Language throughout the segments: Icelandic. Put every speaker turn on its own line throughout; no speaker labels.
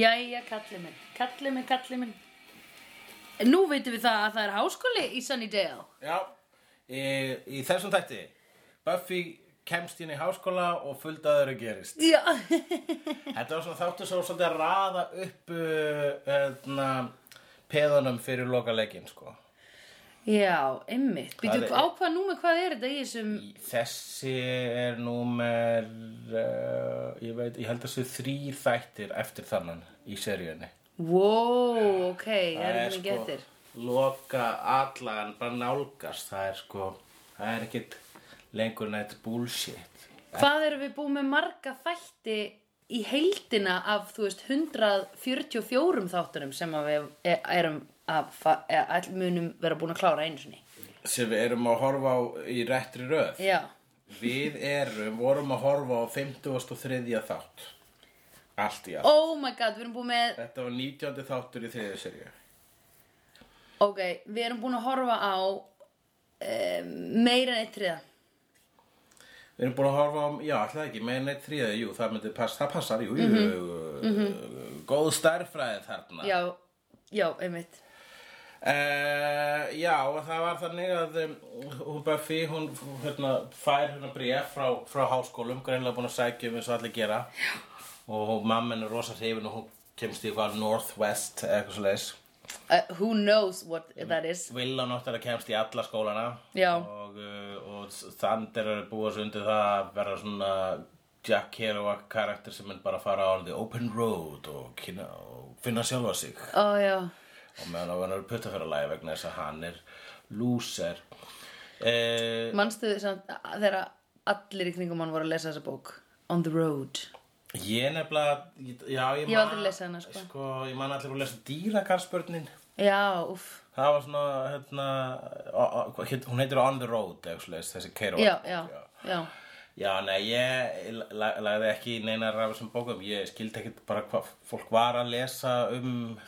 kallið minn, kallið minn, kallið minn. En nú veitum við það að það er háskóli í Sunnydale.
Já, í, í þessum tætti Buffy kemst inn í háskóla og fullt að þeirra gerist
Já.
Þetta var svona þáttu svo svolítið að raða upp uh, öðna, peðunum fyrir lokalegin sko.
Já, einmitt. Býtu,
er-
á hvað númer, hvað er þetta í þessum...
Þessi er númer uh, ég veit, ég held að þessu þrýr þættir eftir þannan í seríunni
Wow, ok, ég er ekki sko... getur.
loka allan bara nálgast það er sko, það er ekkit lengur nætt bullshit
Hvað erum við búin með marga þætti í heildina af, þú veist, 144 þáttunum sem að við e- erum að, fa- e- all munum vera búin að klára einu sinni.
sem við erum að horfa á í réttri röð
Já,
við erum, vorum að horfa á 53. þátt allt í allt
oh my god, við erum búin með,
þetta var 19. þáttur í þriðju serju
ok, við erum búin að horfa á um, meira en eitt triða.
við erum búin að horfa á, já, alltaf ekki meina eitt þriðið, jú, það myndi pass, það passar jú, jú, mm góð stærfræði þarna
Mhm. Já, já, einmitt.
Uh, já, og það var þannig að um, hún Buffy, hún hérna, fær hérna bréf frá, frá háskólum, greinlega búin að sækja um eins og allir gera já. og mamman er rosa hrifin og hún kemst í eitthvað Northwest eða eitthvað svo leis
Uh, who knows what that is?
Villa náttúrulega kemst í alla skólana
Já.
og, uh, og Sander er að búa sig undir það að vera svona Jack Hero karakter sem er bara að fara á the open road og, kynna, og finna sjálfa sig
Ó, já,
og meðan á hann eru puttafjörðalagi vegna þess að hann er lúser eh,
manstu þess að þegar allir í kringum hann voru að lesa þessa bók? On the road.
ég nefnilega ég- já, ég,
Ég hef
man-
aldrei lesið hana, sko.
ég man allir að lesa dýrakarspörnin
Já, uff.
það var svona hérna, o- o- hvað hét- hún heitir On the Road eða eitthvað svoleiðis, þessi Keiró
já, já, já.
Já, nei, ég la- lagði ekki í neina rafið sem bókum. Ég skildi ekkit bara hvað fólk var að lesa um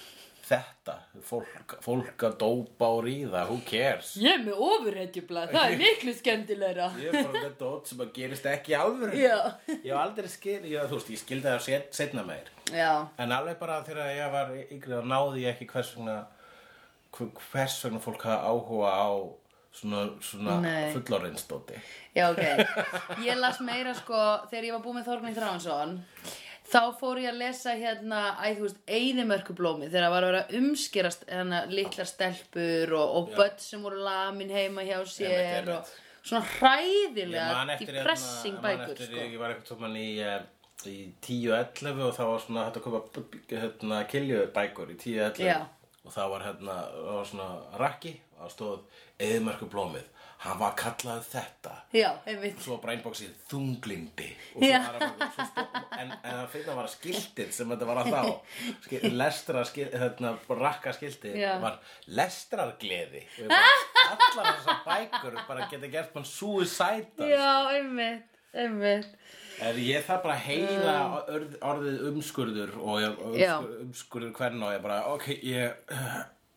þetta. Fólk, fólk að dópa og ríða, who cares?
Ég er með ofurhetjublað, það er miklu skemmtilegra.
Ég er bara með dót sem að gerist ekki áður.
Já.
Ég hef aldrei skil, já, þú veist, ég skildi það set, setna meir.
Já,
En alveg bara þegar ég var yngri þá náði ég ekki hvers vegna, hver- hvers vegna fólk hafa áhuga á svona, svona
Nei.
fullorðinsdóti.
já, ok. Ég las meira sko, þegar ég var búin með Þorgni Þránsson, þá fór ég að lesa hérna, æ, þú veist, Eðimörkublómi, þegar það var að vera að umskerast hérna litlar stelpur og, og börn sem voru lamin heima hjá sér
Einmitt, einmitt.
og svona hræðilega
hérna-
depressing
man
bækur
eftir,
sko.
ég var eitthvað tóman í, eh, í 10-11 og það var svona hægt að koma b- b- hérna, kilju bækur í 10-11
Já.
og það var hérna það var svona rakki og það stóð eðmerku blómið, hann var kallað þetta
Já, einmitt.
svo bara einboxið þunglindi og svo
Já.
var að, svo stó, en, en það fyrir að vara skiltið sem þetta var að þá Skil, lestra skil, hérna, rakka skiltið
Já.
var lestrargleði og ég bara, allar þessar bækur bara geta gert mann suicidal
Já, einmitt, einmitt.
Er ég þarf bara að heyra orð, orðið umskurður og ég,
Já.
umskur, umskurður hvern og ég bara, ok, ég,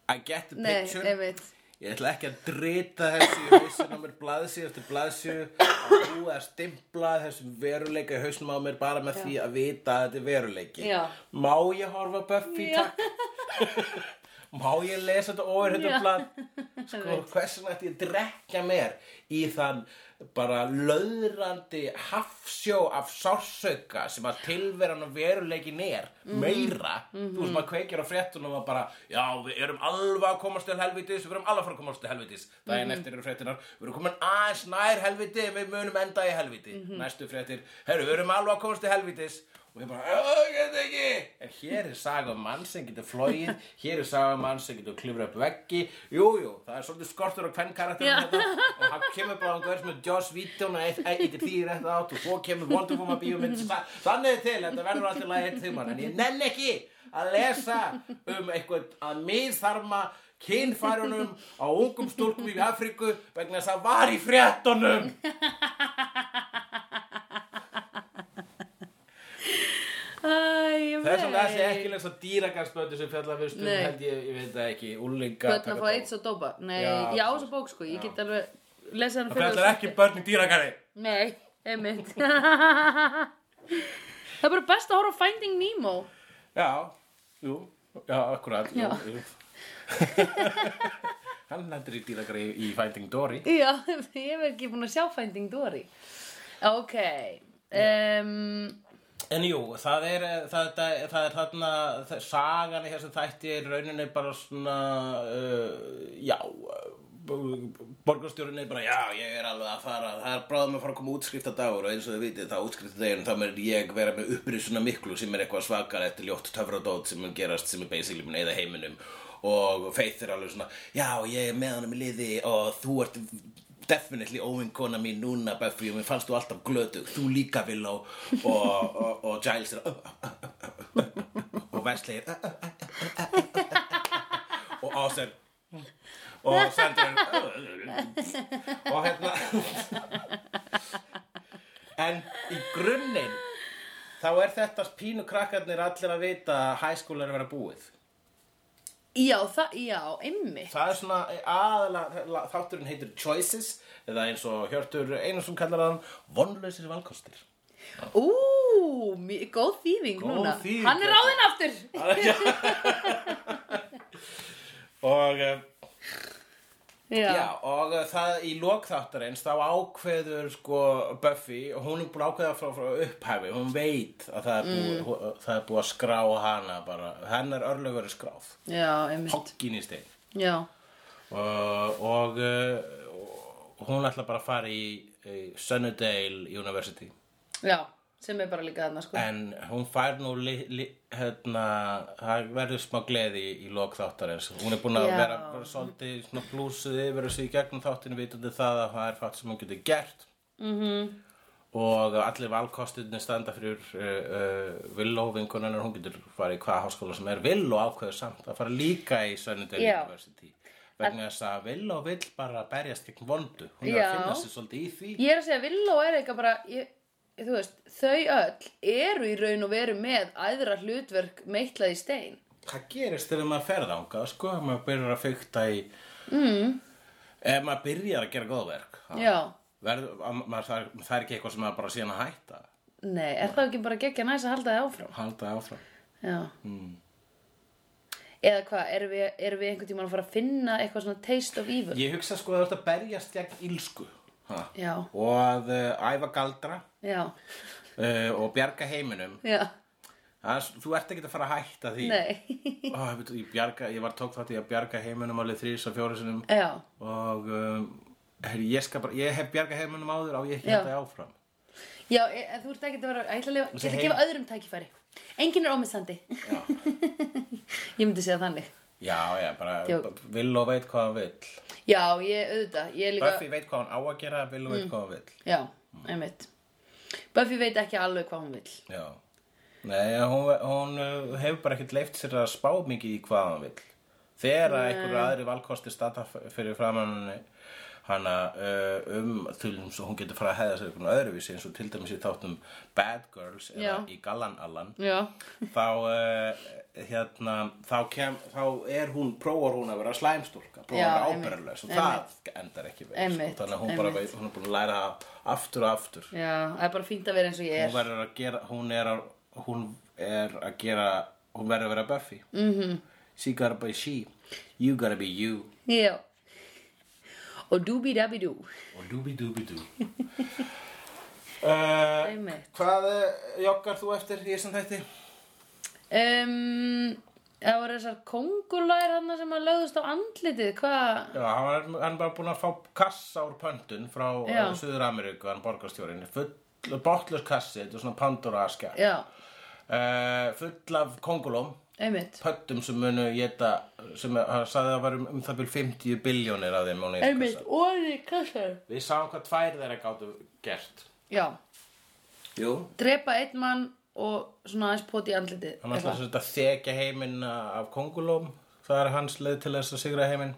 I get the
Nei,
picture.
einmitt.
Ég ætla ekki að drita þessu í hausinn á mér blaðsíð eftir blaðsíð að þú að stimpla þessum veruleika í hausnum á mér bara með því að vita að þetta er veruleiki.
Já.
Má ég horfa á Buffy,
Já.
takk? Má ég lesa þetta
Já.
ofur þetta blað? Sko, hvers vegna ætti ég að drekja mér í þann bara löðrandi hafsjó af sársauka sem að tilveran og veruleikin er
Mhm.
meira, þú veist maður kveikir á fréttunum og bara, já við erum alveg að komast til helvitis, við erum alveg að fara að komast til helvitis daginn
Mhm.
eftir eru fréttunar, við erum komin aðeins nær helviti en við munum enda í helviti
Mhm.
næstu fréttir, herru við erum alveg að komast til helvitis og ég bara, "Ég get ekki en hér er saga um mann sem getur flóið hér er saga um mann sem getur klifra upp veggi jújú, jú, það er svolítið skortur á hvern
Já.
karakterum þetta og hann kemur bara hann verður með Joss Vítjón eitt eitt því rétt átt og svo kemur Wonder Woman bíómynd Sa- þannig er til, þetta verður alltaf lagið eitt tíman en ég nenn ekki að lesa um eitthvað að miðþarma kynfærunum á ungum stúlkum í Afríku vegna þess að það var í fréttunum
Æ,
þess að það sé ekki lesa dýragarsbötu sem fjallar fyrir stund
Nei.
held ég, ég veit það ekki, úlinga
Börn að fá eitt svo dópa Nei,
Já,
ég á þessa bók sko, ég get alveg lesa hana
það fjallar ekki börn í dýragarði
Nei, einmitt Það er bara best að horfa á Finding Nemo
já, Jú, já, akkurat jú,
Já.
jú. Hann hendur í dýragrei í Finding Dory
Já, ég verð ekki búin að sjá Finding Dory. Ok. Um,
En jú, það er, eh, það, það, það er þarna, það, sagan í þessum þætti er rauninni bara svona, uh, já, borgarstjórinn er bara, já, ég er alveg að fara, það er bráðum að fara að koma útskriftardagur og eins og þið vitið þá útskriftardagun, þá mun ég vera með upprýsuna miklu sem er eitthvað svakar eftir ljótt töfradót sem mun gerast sem er basically mun eða heiminum og Faith er alveg svona, já, ég er með honum í liði og þú ert definitely óvinkona mín núna Buffy og mér fannst þú alltaf glötug þú líka Villó og, og, og Giles er og Wesley er og Oz er og Sandra er og hérna en í grunninn þá er þetta pínu krakkarnir allir að vita að hæskólar er að vera búið
já, það, já, einmitt.
Það er svona aðalega, þátturinn heitir Choices eða eins og Hjörtur Einarsson kallar hann vonlausir valkostir.
Ú, mi- góð þýðing
Góð
núna.
þýðing,
Hann er
þetta.
ráðinn aftur.
Og, eh,
Já.
já, og eh, það í lokþáttarins þá ákveður sko Buffy og hún er búin að ákveða frá, frá upphæfi, hún veit að það er, búið, hú- það er búið að skrá hana bara, hennar örlögur er skráð,
já, einmitt.
hokkin í stein.
Já.
og, og, eh, og hún ætla bara að fara í, í Sunnydale University.
Já, sem er bara líka þarna, sko.
En hún fær nú li, li, hérna, það verður smá gleði í, í lok þáttarins. Hún er búin að
Já.
vera bara svolítið svona blúsuð yfir þessu í gegnum þáttinu vitandi það að það er fætt sem hún getur gert.
Mhm.
-hmm. Og allir valkostinni standa fyrir uh, uh, Villó vinkunar, hún getur farið í hvaða háskóla sem er Villó ákveður samt að fara líka í Sunnydale
Já.
University. Vegna þess að Villó vill bara berjast gegn vondu. Hún er
Já.
að finna sér svolítið í því.
Ég er að segja, Villó er eitthvað bara, ég, þú veist, þau öll eru í raun og veru með æðra hlutverk meitlaði stein.
hvað gerist þegar maður ferð ángað sko, ef maður byrjar að fykta í mm. ef maður byrjar að gera góðverk þá
Já.
verð, að, maður, það, er- það er ekki eitthvað sem maður bara síðan að hætta
Nei, er það ekki bara geggja næs að halda þið áfram?
halda áfram
Já. Eða hvað, erum við, erum við einhvern tímann að fara að finna eitthvað svona taste of evil?
ég hugsa sko að þú ert að berjast gegn ílsku ha.
Já,
og að uh, æfa galdra
já,
uh, og bjarga heiminum
já,
það, er s- þú ert ekki að fara að hætta því
nei,
Ó, ég, veit, ég, bjarga, ég var tók þátt í að bjarga heiminum alveg þrís og fjóri sinum
já,
og um, herri, ég, skal bara, ég hef bjarga heiminum áður á ég ekki
Já.
halda áfram
já, e, e, þú ert ekki að vera, ég ætla að lifa, ég ætla
heim-
að gefa öðrum tækifæri. Enginn er ómissandi. ég myndi segja þannig.
Já, já, bara
Djók.
bara Villó veit hvað hann vill
Já, ég, auðvitað, ég er líka... Mm.
Buffy veit hvað hann á að gera, Villó veit hvað hann vill
Já, einmitt Buffy veit ekki alveg hvað hún vil
Já Nei, hún, hún uh, hefur bara ekkert leift sér að spá mikið í hvað hann vill Þegar að einhverju aðri valkosti standa f- fyrir framann hana uh, um þulum svo hún getur fara að hefða sér einhvern öðruvísi eins og til dæmis í þáttum Bad Girls eða
Já.
í Gallan Allan
Já,
þá uh, hérna, þá, kem, þá er hún prófar hún að vera slæmstúlka prófar
Já,
að vera
einmitt,
ábyrðarlega og
einmitt.
það endar ekki vel
Einmitt,
sko, þannig að hún, bara,
einmitt.
veit- hún er búin að læra það aftur og aftur
já, það er bara fínt að vera eins og ég
hún
er
verður að gera hún er að, hún er að gera hún verður að vera Buffy mm
Mhm.
-hmm. she gotta be she you gotta be you
Já Og dooby-dabby-doo
og dooby dooby doo uh,
Einmitt
hvað eh, joggar þú eftir í þessum þætti?
um, Það voru þessar kongulær hann sem að lögðust á andlitið Hvað?
Já, hann var, hann var búin að fá kassa úr pöntun frá
Já.
uh, Suður Ameríku, hann borgarstjórinn full, bottlur kassi, þetta er svona Pandora-askja uh,
Já,
full af kongulum,
einmitt
pöntum sem munu geta, sem er- hann sagði að það var um, um það byrjum 50 biljónir af þeim á neins
Einmitt,
kassa
orði kassar
Við sáum hvað tvær þeirra gátu gert
Já,
Jú
drepa einn mann og svona aðeins poti í andlitið
Hann ætlaði
eitthvað.
sem þetta að þekja heiminn af kongulum, það er hans leið til þess að sigra heiminn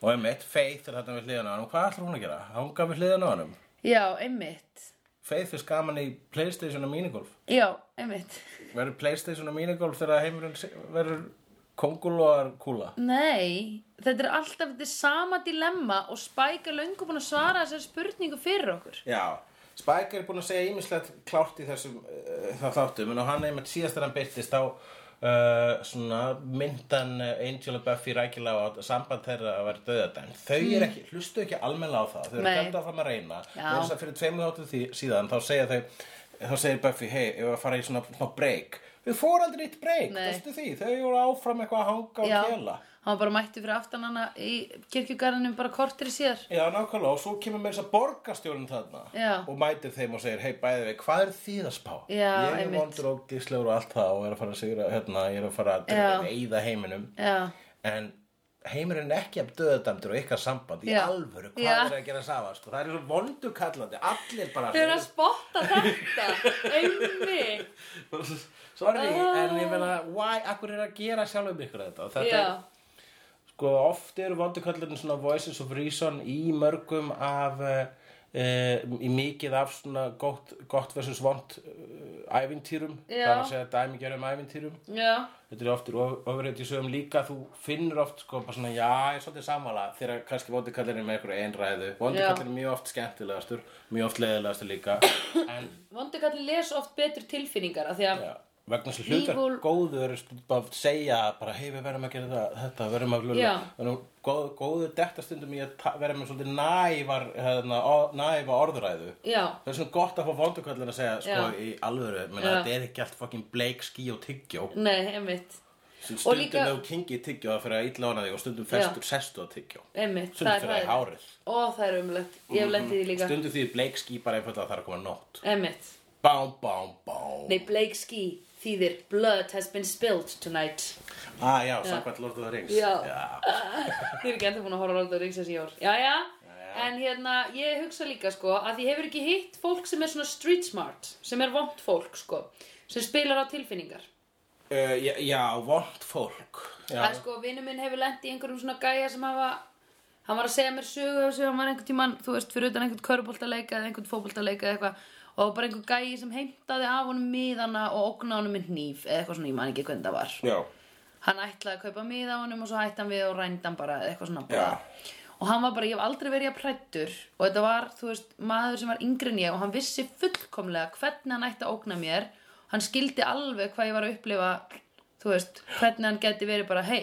og einmitt, Faith er þarna við hliðan á hann hvað ætlar hún að gera? Hún gaf við hliðan á hann
Já, einmitt
Faith er skaman í Playstation og minigolf
Já, einmitt
Verður Playstation og minigolf þegar heimurinn se- verður kongulóar kúla
Nei, þetta er alltaf þetta er sama dilemma og Spike er löngu búin að svara þessari spurningu fyrir okkur.
Já, eh, Spike er búin að segja ímislegt klárt í þessum uh, þáttum en á hann einmitt síðast þegar hann byrtist þá uh, svona myndan uh, Angela Buffy rækilega á að samband þeirra að vera döðadæn þau eru ekki, hlustu ekki almenna á það þau eru
Hmm. Nei.
gæmd á það að reyna
Já.
Meira þess að fyrir tveimur áttu því síðan þá segja þau þá segir Buffy, hei, ef að fara í svona, svona break þau fóru aldrei eitt break,
Nei.
þaðstu því þau voru áfram eitthvað að hanga og
Já,
kela
hann var bara mætti fyrir aftan hana í kirkjugarðinum bara kortir í sér
Já, nákvæmlega, og svo kemur með þess að borgarstjórinn þarna
Já.
og mætir þeim og segir, hei, bæði við, hvað er þið að spá?
Já,
ég er
einmitt.
vondur og gíslegur og allt það og er að fara að sigra, hérna, ég er að fara
Já.
að eyða heiminum,
Já,
en heimurinn er ekki af döðdæmdur og ykkar samband í
Já.
alvöru, hvað
Já.
er að gera safa, sko, það er svo vondu kallandi, allir bara
þau eru að spotta þetta einmi
sorry,
Ah.
en ég meina, why, akkur er að gera sjálfum ykkur þetta, og þetta er
Já,
Sko, oft eru vonduköllurinn svona voices of reason í mörgum af, uh, í mikið af svona gott, gott versus vond uh, ævintýrum.
Já.
Það er að segja dæmigjörum ævintýrum.
já,
Þetta er oftir ofurreitt í sögum líka, þú finnur oft sko bara svona, já, ég er svolítið sammála þegar kannski vondukallurinn er með einhverju einræðu. Vondukallurinn er mjög oft skemmtilegastur, mjög oft leiðilegastur líka. en
vondi kalli les oft betur tilfinningar af því að
Já, vegna þess að hlutar
Evil-
góður er stundum að segja bara hei við verðum að gera það, þetta, við verðum að
Já.
lula þannig góð, góður dekta stundum í að ta- vera með svolítið nævar hérna, o- næva orðræðu
Já,
það er svona gott að fá vondukallin að segja sko
Já.
í alvöru,
Já.
menn þetta er ekki allt fucking bleik skí og tyggjó
nei, einmitt Og
stundum
líka-
líka... ef kingi tyggjó það fyrir að illa hana þig og stundum festur, sestu að tyggjó
Einmitt, það
stundum
er
fyrir að í
hræðilegt.
hárið
Ó, það er umlegt, ég hef lendið í því líka
stundum því bleik skí bara einfallega að það er að koma nótt
Einmitt,
bám, bám, bám
nei, Blake Ski þýðir Blood has been spilled tonight
ah, já, samkvæmt Lord of the Rings
Já.
Já.
Þið er ekki enda búin að horfa á Lord of the Rings þessi ár Jæja, en hérna, ég hugsa líka sko að ég hefur ekki hitt fólk sem er svona street smart sem er vond fólk sko sem spilar á tilfinningar
Uh, já, já, vond fólk já.
að sko, vinnu minn hefur lent í einhverjum svona gæja sem hafa hann var að segja mér sögu af þessu, hann var einhvern tímann, þú veist, fyrir utan einhvern körubóltaleika eða einhvern fótboltaleika eða eitthvað og það var bara einhver gæi sem heimtaði af honum miðana og ógna honum með hníf eða eitthvað svona, ég man ekki hvernig það var
já,
hann ætlaði að kaupa miða á honum og svo hætti hann við og rændi hann bara eitthvað svona bara.
Já.
og hann var bara, ég hef aldrei verið að prættur og þetta var, þú veist, maður sem var yngri en ég og hann vissi fullkomlega hvernig hann ætti að ógna mér hann skildi alveg hvað ég var að upplifa þú veist, hvernig hann geti verið bara hei,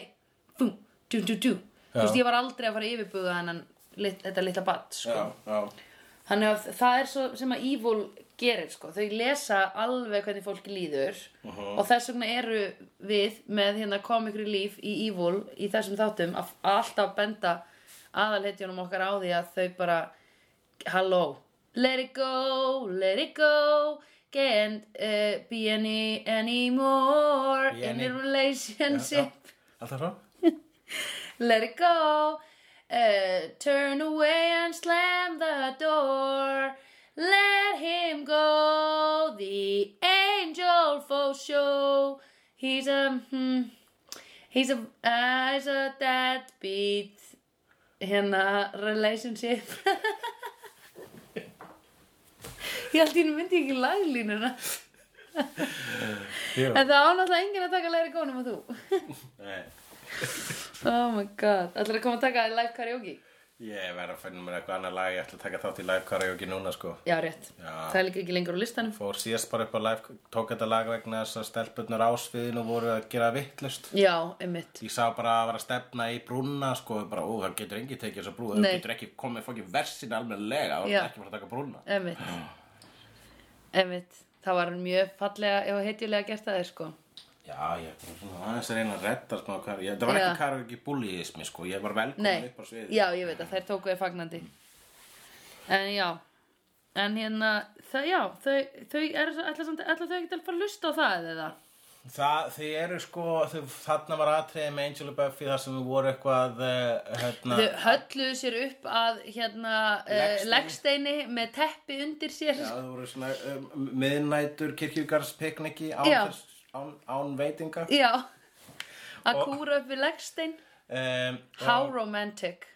bú, dú, dú, dú þú veist, ég var aldrei að fara að yfirbuga hennan lit, þetta litla bat, sko
já, já.
Þannig að það er svo sem að evil gerir sko, þau lesa alveg hvernig fólki líður og þess vegna eru við með hérna komikri líf í evil í þessum þáttum að að alltaf benda aðalhetjunum okkar á því að þau bara halló, let it go, let it go can't uh, be any anymore
Be
in
any-
a relationship
Alltaf svo?
Let it go. Uh, turn away and slam the door. Let him go. The angel for show. He's a hmm, he's a uh, he's a deadbeat hérna relationship. Ég held ég myndi ég ekki laglínuna. En það ánáttúrulega enginn að taka læri gónum að þú.
Nei,
Oh my god, ætlar að koma að taka live karaoke?
ég verð að finna mér eitthvað annað lag, ég ætla að taka þátt í live karaoke núna sko
Já, rétt.
Já.
Það er líka ekki lengur á listanum.
Fór síðast bara upp á live, tók þetta lag vegna þess að stelpurnar ásviðin og voru að gera vittlust
Já, einmitt.
Ég sá bara að vera að stefna í brúna sko, bara ó, það getur engi tekið þessa brú, það
Nei.
getur ekki komið fokkin versin almennilega, það
Já.
er ekki bara að taka brúna
Einmitt. Einmitt. Það var mjög fallega og heitjulega gert að þér, sko.
Já, ég er bara svona aðeins að reyna að redda smá kar... Ég, það var
Já.
ekki karaoke bullyismi sko, ég var velkomin
Nei.
upp á sviðið.
Já, ég veit að þær tóku þér fagnandi. En já. En hérna, það, já, þau, þau er, ætla, samt, ætla þau ekki til að fara að lusta á það eða?
Það, þau eru sko, þau, þarna var atriðið með Angel og Buffy þar sem við voru eitthvað, eh, hérna,
Þau hölluðu sér upp að, hérna, uh,
Legsteini.
leggsteini með teppi undir sér.
já, þau voru svona um, miðnætur kirkjugarðspikniki án,
Já.
þess- án, án veitinga.
Já. Að kúra upp við leggstein.
Um,
How romantic.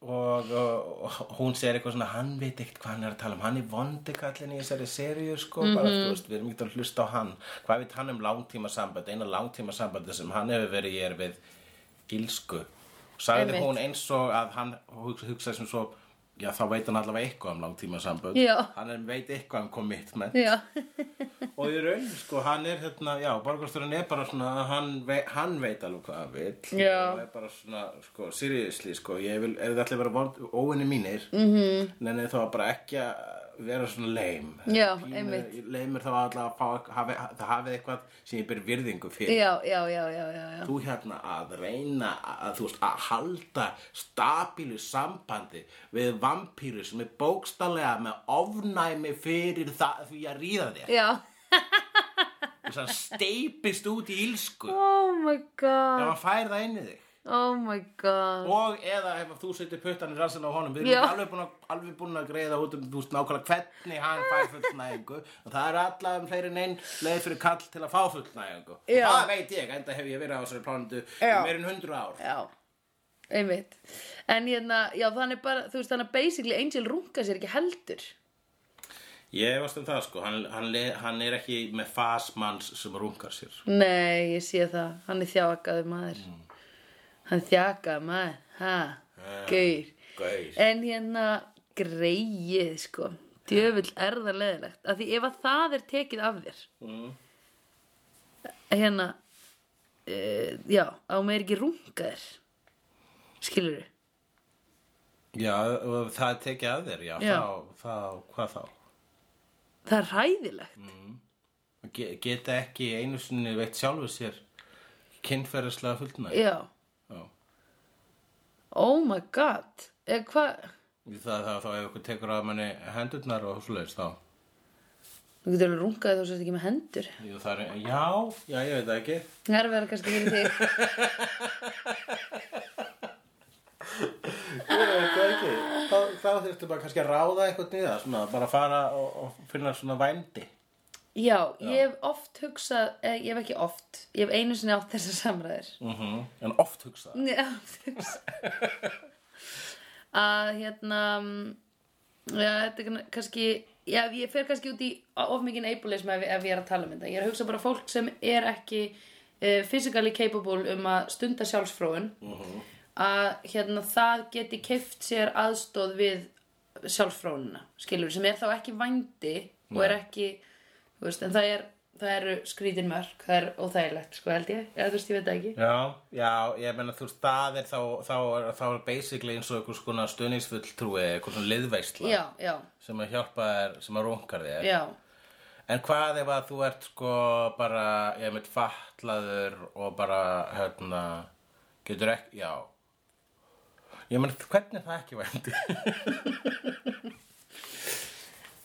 og, og, og hún segir eitthvað svona, hann veit ekkert hvað hann er að tala um, hann er vondikallin í þessari seríu sko,
Mhm.
bara, þú veist, við erum ekkert að hlusta á hann. Hvað veit hann um langtíma sambandi, eina langtíma sambandi sem hann hefur verið í er við ílsku. Sagði
Einmitt.
hún eins og að hann hugsa, hugsa sem svo, Já, þá veit hann allavega eitthvað um langtíma sambönd.
Já.
Hann er, veit eitthvað um commitment.
Já,
og í raun, sko, hann er hérna, já, borgarstjóran er bara svona, hann, vei, hann veit alveg hvað hann vil.
Já.
Og er bara svona, sko, seriously, sko, ég vil, ef þið ætli að vera vond, óinni mínir, mm
Mhm.
-hmm. nenni þá bara ekki að vera svona leim.
Já,
Pínu-
einmitt.
Leim er þá allavega að fá, hafi, það hafið eitthvað sem ég ber virðingu fyrir.
já, já, já, já, já, já.
Þú hérna að reyna að þú veist að halda stabílu sambandi við vampýru sem er bókstallega með ofnæmi fyrir það því að ríða þér.
Já,
Þess að steipist út í ílsku
oh my
ef
god,
hann fær það inn í þig.
oh my god.
Og eða ef þú setur puttan í rassin á honum, við
Já.
erum alveg búin, að, alveg búin að greiða út um þú veist nákvæmlega hvernig hann fær fullnægingu og það er alla um fleiri en einn leið fyrir kall til að fá fullnægingu. Og
Já.
Það veit ég, enda hef ég verið á þessari plánundu
Já.
meir en hundru ár.
Já, einmitt. En hérna, já, þannig bara, þú veist, þannig að basically Angel runga sér ekki heldur.
Ég varst um það sko, hann, hann, le- hann er ekki með fasmanns sem rungar sér.
Nei, ég sé það, hann er þjákaður maður. Hann er þjákaður maður, Mm. ha, gaur.
Gauð.
En hérna, greið, sko, djöfull er það leðilegt. Af því ef að það er tekið af þér,
Mm.
hérna, uh, já, á mig er ekki rungaður, skilur við.
Já, og það er tekið að þér, já,
Já.
Þá, þá, hvað þá?
Það er hræðilegt.
Ge, geta ekki einu sinni veitt sjálfu sér kynferðislega fullnæg.
Já,
Já.
oh my god, E, eða hvað...
Í Það, það, þá ef ykkur tekur að manni hendurnar og svoleiðis þá.
Þú getur alveg rungaði þá sérst ekki með hendur.
Jú, það er, já, já, ég veit það ekki.
Nervið er kannski fyrir þig.
Ég veit það ekki. Þá, þá þurftu bara kannski að ráða eitthvað niða, svona, bara fara og, og finna svona vændi.
Já, ég hef oft hugsað, eða ég hef ekki oft, ég hef einu sinni átt þessar samræðir.
Mm En oft hugsa það.
Ég hef oft hugsað. Að hérna, mm, já, þetta er kann- kannski, já, ég fer kannski út í of mikinn eibulism ef, ef ég er að tala um þetta. Ég er að hugsa bara fólk sem er ekki uh, physically capable um að stunda sjálfsfróun. að hérna, það geti keift sér aðstóð við sjálfsfrónuna, skilur, sem er þá ekki vændi og er ekki þú veist, en það, er, það eru skrítin mörk það er óþægilegt, sko held ég eða þú veist, ég veit það ekki
Já, já, ég meina þú veist, það er þá, þá, er- þá er basically eins og einhvers konar stuðningsfull trúi, einhvers svona liðveisla
Já, já,
sem að hjálpa þér, sem að rungar þér.
já,
En hvað ef að þú ert sko bara, ég veit, fatlaður og bara, hérna, getur ekki, já. Ég meina, hvernig er það ekki vændi?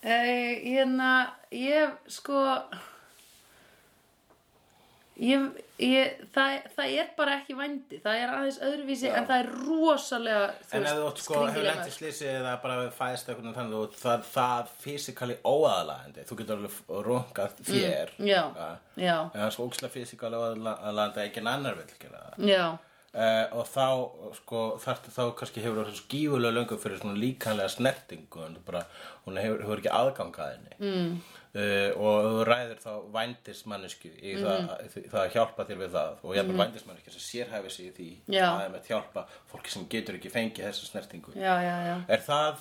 e, hérna ég, sko ég, ég það, það er bara ekki vændi það er aðeins öðruvísi, en það er rosalega, þú
en ef þú ert sko, hefur
skringilega
lent í
mörk.
slýsi eða bara fæðist eitthvað þannig, þú, það, það fysikali óaðalagandi, þú getur alveg rungað þér.
já,
Ja.
já,
En það er svo ókslega fysikali óaðalagandi að enginn annar vil gera það.
já
Uh, og þá, sko, þarftu þá kannski hefur það svo gífulega löngu fyrir svona líkanlega snertingu en þú bara, hún hefur, hefur ekki aðgangað henni mm. og þú ræður þá vændismannesku í
Mm.
það, það, það að hjálpa þér við það og ég er bara vændismannesku sem sérhæfi sig í því
Já.
að með hjálpa fólki sem getur ekki fengið þessa snertingu
Já, já, já.
er það,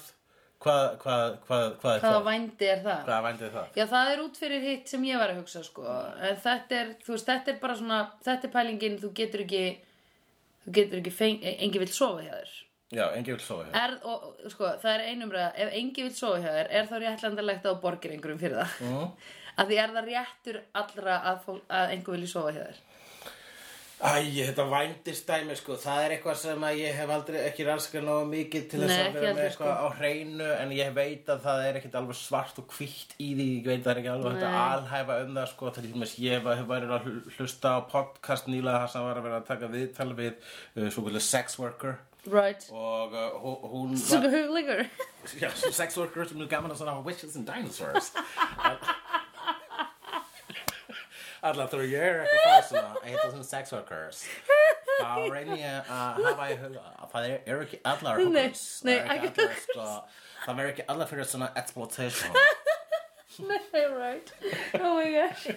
hvað, hvað, hvað, hvað er
Hvaða
það?
vændi er það?
Hvaða vændið er það?
Já, það er út fyrir hitt sem ég var að hugsa, sko. En þetta er, þú veist, þetta er bara svona, þetta er pælingin, þú getur ekki, þú getur ekki, feng, engi vill sofa hjá þér.
Já, engi vil sofa hér
Er, og, sko, það er einumræða, ef engi vill sofa hjá þér, er þá réttlandalegt að þú borgir einhverjum fyrir það? Mm. Af því er það réttur allra að, fó, að engu vilji sofa hjá þér?
Æ, þetta vændistæmi sko, það er eitthvað sem að ég hef aldrei ekki rannsakað nógu mikið til þess
Nei,
að
ekki
vera með
heldur, sko.
eitthvað á hreinu en ég veit að það er ekkit alveg svart og hvítt í því, ég veit það er ekki alveg hægt að alhæfa um það sko, það er ekki með ég hef verið að hl- hlusta á podcast nýlega þar sem var að vera að taka viðtal við uh, svo kvöldu sex worker
Right.
og uh, hú- hún var-
Svona hugleikur.
Já, sex workers sem er gaman að svona witches and dinosaurs Alla þú ég er eitthvað það svona að heita svona sex workers uh, þá reyni ég að hafa í huga að það er- eru ekki allar
Nei,
húkums
nei,
það eru
ekki
ekki allar sko það verður ekki allar fyrir svona exploitation
Nei, right. Oh my gosh.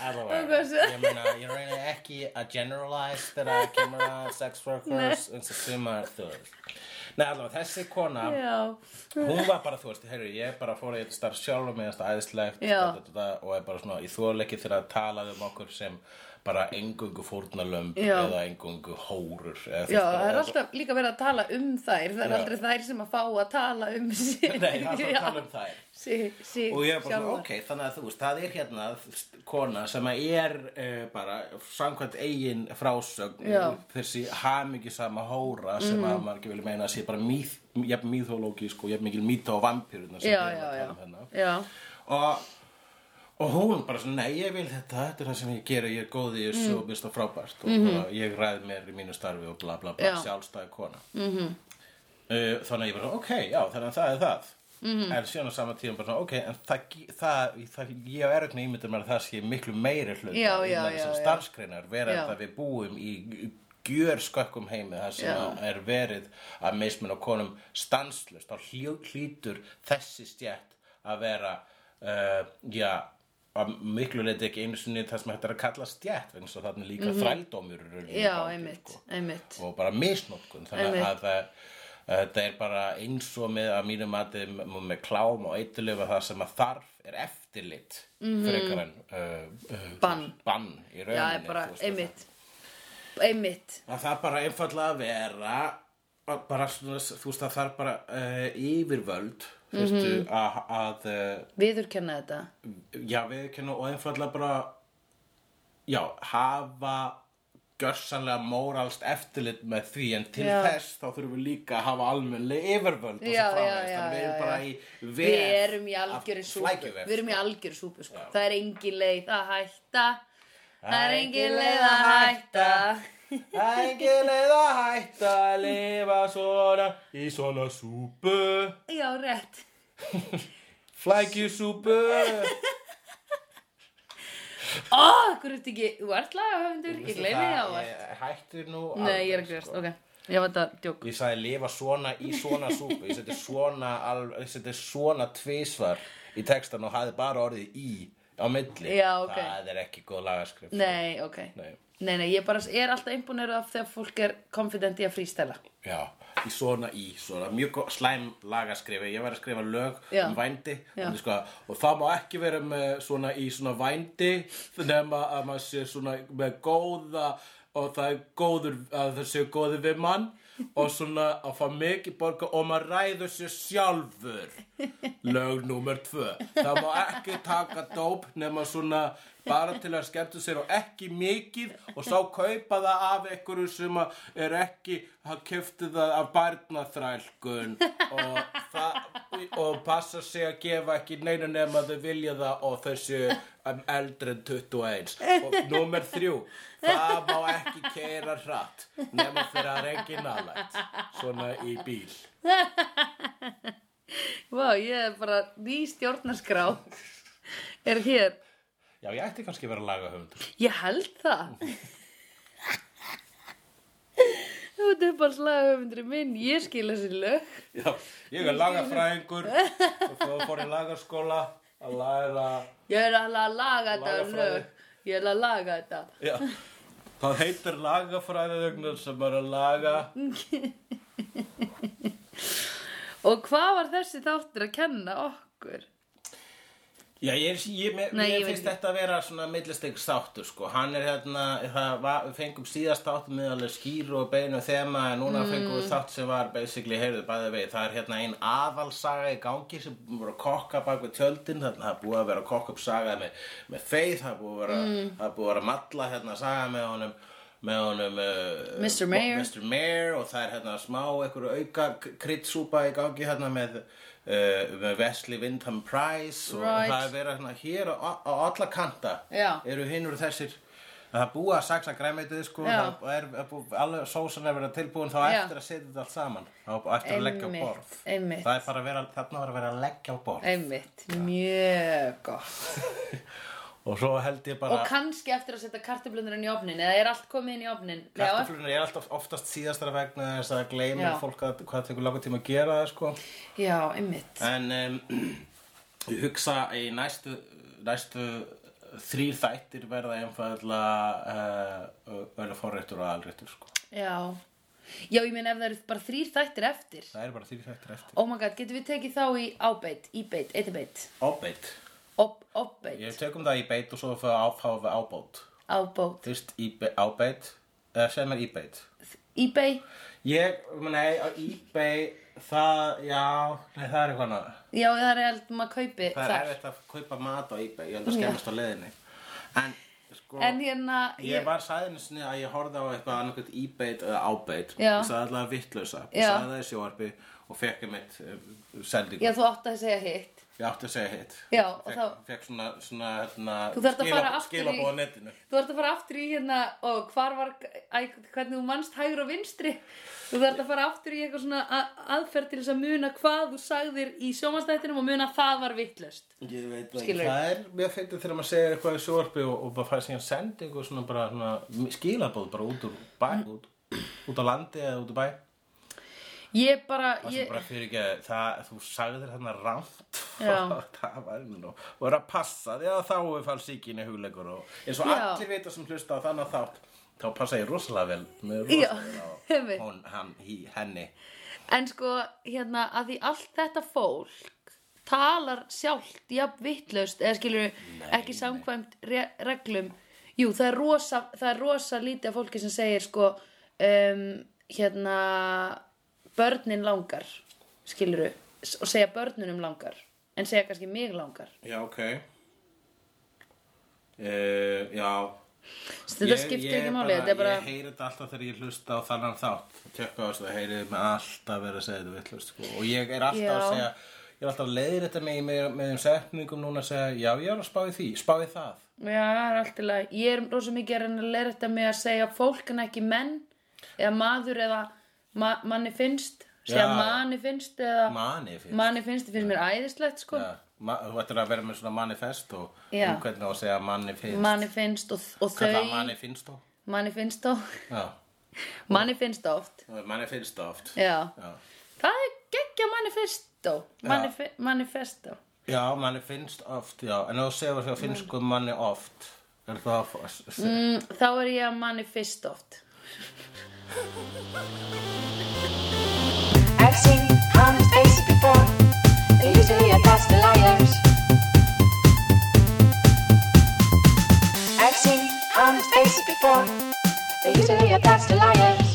allavega
Hvað sé-
ég meina ég reyni ekki að generalize þegar að kemur að sex workers eins og sumar þú veist. Nei, allavega, þessi kona,
Já,
hún var bara, þú veist, heyrðu, ég bara fór í þetta starf sjálf með þetta æðislegt
Já.
da, da, da, og er bara svona, ég þóla ekki þegar að talaði um okkur sem bara engungu fórnalömb
Já.
eða engungu hórur eða, þú
já,
veist, bara-
það er
eða-
alltaf líka verið að tala um þær Það er
Já.
aldrei þær sem að fá að tala um sig
Nei, það er alltaf að tala um þær
sí, sí,
og ég er bara svona,
sjálfar.
ok, þannig að þú veist, það er hérna st- kona sem að er uh, bara samkvæmt eigin frásögn
Já. Mhm.
þessi hamingisama hóra sem að maður ekki vilja meina að sé bara mýð, jafn mýþólógísk og jafn mikil mýta og vampiruna sem
Já,
við erum að
já,
tala um hérna.
já Já,
og, og hún bara svona, nei, ég vil þetta, þetta er það sem ég gera, ég er góð í þessu og mista frábært og bara, ég ræð mér í mínu starfi og bla bla bla,
Mhm. Já. Mhm.
sjálfstæði kona. Mm þannig að ég bara, svona, ok, já, þannig að það er það.
Mhm.
-hmm. En síðan á sama tíma bara, svona, ok, en það, það, það, það ég á erögnu ímyndum er að það sé miklu meiri hluta
Já, já,
innan
já,
þessar
já.
starfsgreinar, vera
Já.
þetta við búum í gjör skökkum heimi það sem
Já.
að er verið að mismun á konum stanslust, þá hljó, hlýtur þessi stjætt að vera uh, já að miklu leiti ekki einu sinni það sem hægt er að kalla stjætt eins og þarna er líka mm -hmm. þrældómur í rauninni í
Mhm. já
gangi,
einmitt, einmitt
sko. og bara misnótkun þannig
Einmitt.
að það Þetta er bara eins og með að mínu mati m- með klám og eitthulifa það sem að þarf er eftirlit frekar en uh, uh,
Mhm. Bann.
bann í rauninni.
Já, er bara,
þú veist,
einmitt Einmitt,
Að það bara einfallega að vera að bara svona, þú veist að það er bara uh, yfirvöld þú veist
Mhm.
að, að uh,
viðurkenna þetta
já við og einfallega bara já hafa gjörsanlega móralst eftirlit með því en til
Já.
þess þá þurfum við líka að hafa almennlega yfirvöld og
Já,
svo framvegis.
já, já,
þannig við erum
já,
bara
já.
í vef
Við erum í
af
algjöri súpu
flækjuvef,
Við erum í
sko.
algjöri súpu sko. Það er engin leið að hætta Það er engin leið að
hætta.
hætta
Það er engin leið að hætta að lifa svona í svona súpu
Já, rétt
flækjusúpu
Ó, hver ert ekki, þú ert lagahöfundur Ég gleymi því á allt
Ég hætti nú
Nei, ég er
alveg,
ekki verst,
sko.
ok Ég var þetta djók
Ég sagði lifa svona í svona súpu Ég seti svona, alv- ég seti svona tvisvar í textan og hafði bara orðið í á milli
Já, ok.
Það er ekki góð lagaskrift
Nei, ok
Nei.
Nei, nei, ég bara er alltaf einbúinur af þegar fólk er confident í að frístæla
Já, í svona í, svona mjög gó- slæm lagaskrifi, ég var að skrifa lög
Já.
um vændi
Já.
og, sko, og það má ekki vera með svona í svona vændi nema að maður sé svona með góða og það er góður, að það séu góður við mann og svona að fá mikið borga og maður ræður sér sjálfur lög númer tvö það má ekki taka dóp nema svona bara til að skemmtu sér og ekki mikið og sá kaupa það af einhverju sem að er ekki að kefti það af barnaþrælkun og, það, og passa sig að gefa ekki neina nema þau vilja það og þessu um, eldri en 21 og númer þrjú það má ekki keira hratt nema þegar það er ekki nálægt svona í bíl
Vá, ég er bara ný stjórnarskrá Er hér
Já, ég ætti kannski að vera lagahöfundur
Ég held það Þetta er bara slagahöfundri minn Ég skil þessi lög
Já, ég er lagafræðingur og þá fór ég lagaskóla að læra
Ég er alveg að laga þetta
Lagafræði.
lög Ég er að laga þetta
Já, það heitir lagafræðingur sem er að laga
Og hvað var þessi þáttur að kenna okkur?
Já, ég, er- ég, mér,
Nei, ég
mér
veit
finnst þetta að vera svona millisteg þáttur sko Hann er hérna, það var, við fengum síðast þáttum með alveg skýr og beinu þema en núna
Mm.
fengum við þátt sem var basically, heyrðu, bæði vegi Það er hérna ein aðalsaga í gangi sem voru að kokka bak við tjöldin Þannig að það er búið að vera að kokka upp saga með, með feið Það er búið að vera,
Mm.
það er búið að vera að matla hérna saga með honum með honum uh,
Mr. Mayor.
Mr. Mayor og það er hérna smá einhverju auka kryddsúpa í gangi hérna með, uh, með Wesley Windham Price og
Right.
það er verið hérna hér á, á alla kanta
Já.
eru hinur þessir það er búið að saksa græmitið sko
Já.
það er, er búið, alveg sósan er verið að tilbúin þá
Já.
eftir að setja þetta allt saman þá á eftir að leggja á
Einmitt,
borð
einmitt.
það er bara að vera, þarna var að vera að leggja á borð
Einmitt, mjög gott
og svo held ég bara
Og kannski eftir að setja kartöflunurinn í ofnin Eða er allt komið inn í ofnin Já,
Kartaflunar er alltaf oftast síðastara vegna þess að gleymir
Já.
fólk að hvað tekur langa tíma að gera það sko.
Já, einmitt
En um, ég hugsa í næstu, næstu þrýr eh, þættir verða einfallega uh, verða forréttur og alréttur sko.
Já Já, ég meina ef það eru bara þrýr þættir eftir
Það er bara þýr þættir eftir
Oh my god, getum við tekið þá í ábeit, íbeit, eitibeit
Ábeit
Ob, Obbeit,
Ég tökum það í beit og svo fyrir áfáðu við ábót
ábót,
Fyrst í be- ábeit eða sem er í beit
íbei
Ég, nei, á eBay það, já, nei, það er eitthvað annað.
Já, það er held maður kaupi
Það er
þar
erfitt að kaupa mat á eBay, ég held að skemmast á leiðinni. En, sko,
En hérna,
ég var sæðinu sinni að ég horfði á eitthvað annarkvæmt eBay eða ábeit.
Já.
Ég sagði alltaf vittlausa.
Já.
Ég sagði það í sjóarpi og fekk ég mitt uh, sendingu.
já, þú átt að segja hitt
Ég átti að segja hitt.
Já, og
fekk,
þá-
Fekk svona, svona, hérna,
Þú þarft að fara aftur í-
skilabóð á netinu.
Þú ert að fara aftur í hérna og hvar var, æ, hvernig þú manst hægur og vinstri Þú þarft að fara aftur í eitthvað svona a- aðferð til þess að muna hvað þú sagðir í sjómanstættinum og muna að það var vittlust
Ég veit það
Skilurðu?
ekki. Það er mjög fyndið þegar maður segir eitthvað í sjóarpi og, og bara fær síðan sendingu og svona bara svona skilabóð bara út úr bæ, út, út á landi eða út úr bæ.
Ég bara,
Það sem
ég,
bara fyrir ekki að það, þú sagði þér þarna rámt.
Já.
það var nú nú. Og er að passa því að þá er falsíkinni hugleikur og eins
Já.
og allir vita sem hlusta á þannig þátt. Þá passa ég rosalega vel með
Já,
rosalega vel
einmitt.
á hún, hann, hí, henni.
en sko, hérna, að því allt þetta fólk talar sjálft, jafn vittlust, eða skilur ekki samkvæmt re- reglum. Jú, það er rosa, það er rosa lítið af fólki sem segir, sko, um, hérna, börnin langar, skilur og segja börnunum langar, en segja kannski mig langar.
Já, ok. Uh, já,
Þetta skiptir ekki máli, þetta er bara,
Ég heyri þetta alltaf þegar ég hlusta á þannan þátt Tjökka á þessu, það heyri mig alltaf verið að segja þetta vittlust sko. Og ég er alltaf að
Já.
segja Ég er alltaf að leiðir þetta með, með, með þeim setningum núna að segja Já, ég er að spá í því, spá í það
já, það er allt í lagi. Ég er rosa mikið að reyna að leira þetta með að segja fólk en ekki menn, eða maður eða ma manni finnst, segja
Já.
manni finnst eða...
Mani fyrir
manni finnst þið finnst mér æðislegt sko
ja, ma, Þú ættir að vera með svona manifest og
Já.
um hvernig á að segja manni finnst
manni finnst og, og
Kalla
þau
manni finnst þó
manni finnst þó
Já,
manni finnst þó oft
manni finnst þó oft
já.
Já.
það er geggja manni finnst þó manni, fi- manni finnst þó
já, manni finnst oft, já En ef þú segir það finnsku manni oft Er það að
mm, þá er ég að manni finnst oft
I've seen honest faces before. They're usually a pass of liars. I've seen honest faces before. They're usually a pass of liars.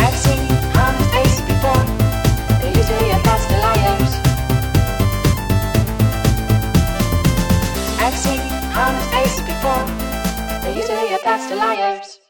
I've seen honest faces before. They're usually a pass of liars. I've seen honest faces before. They're usually a pass of liars.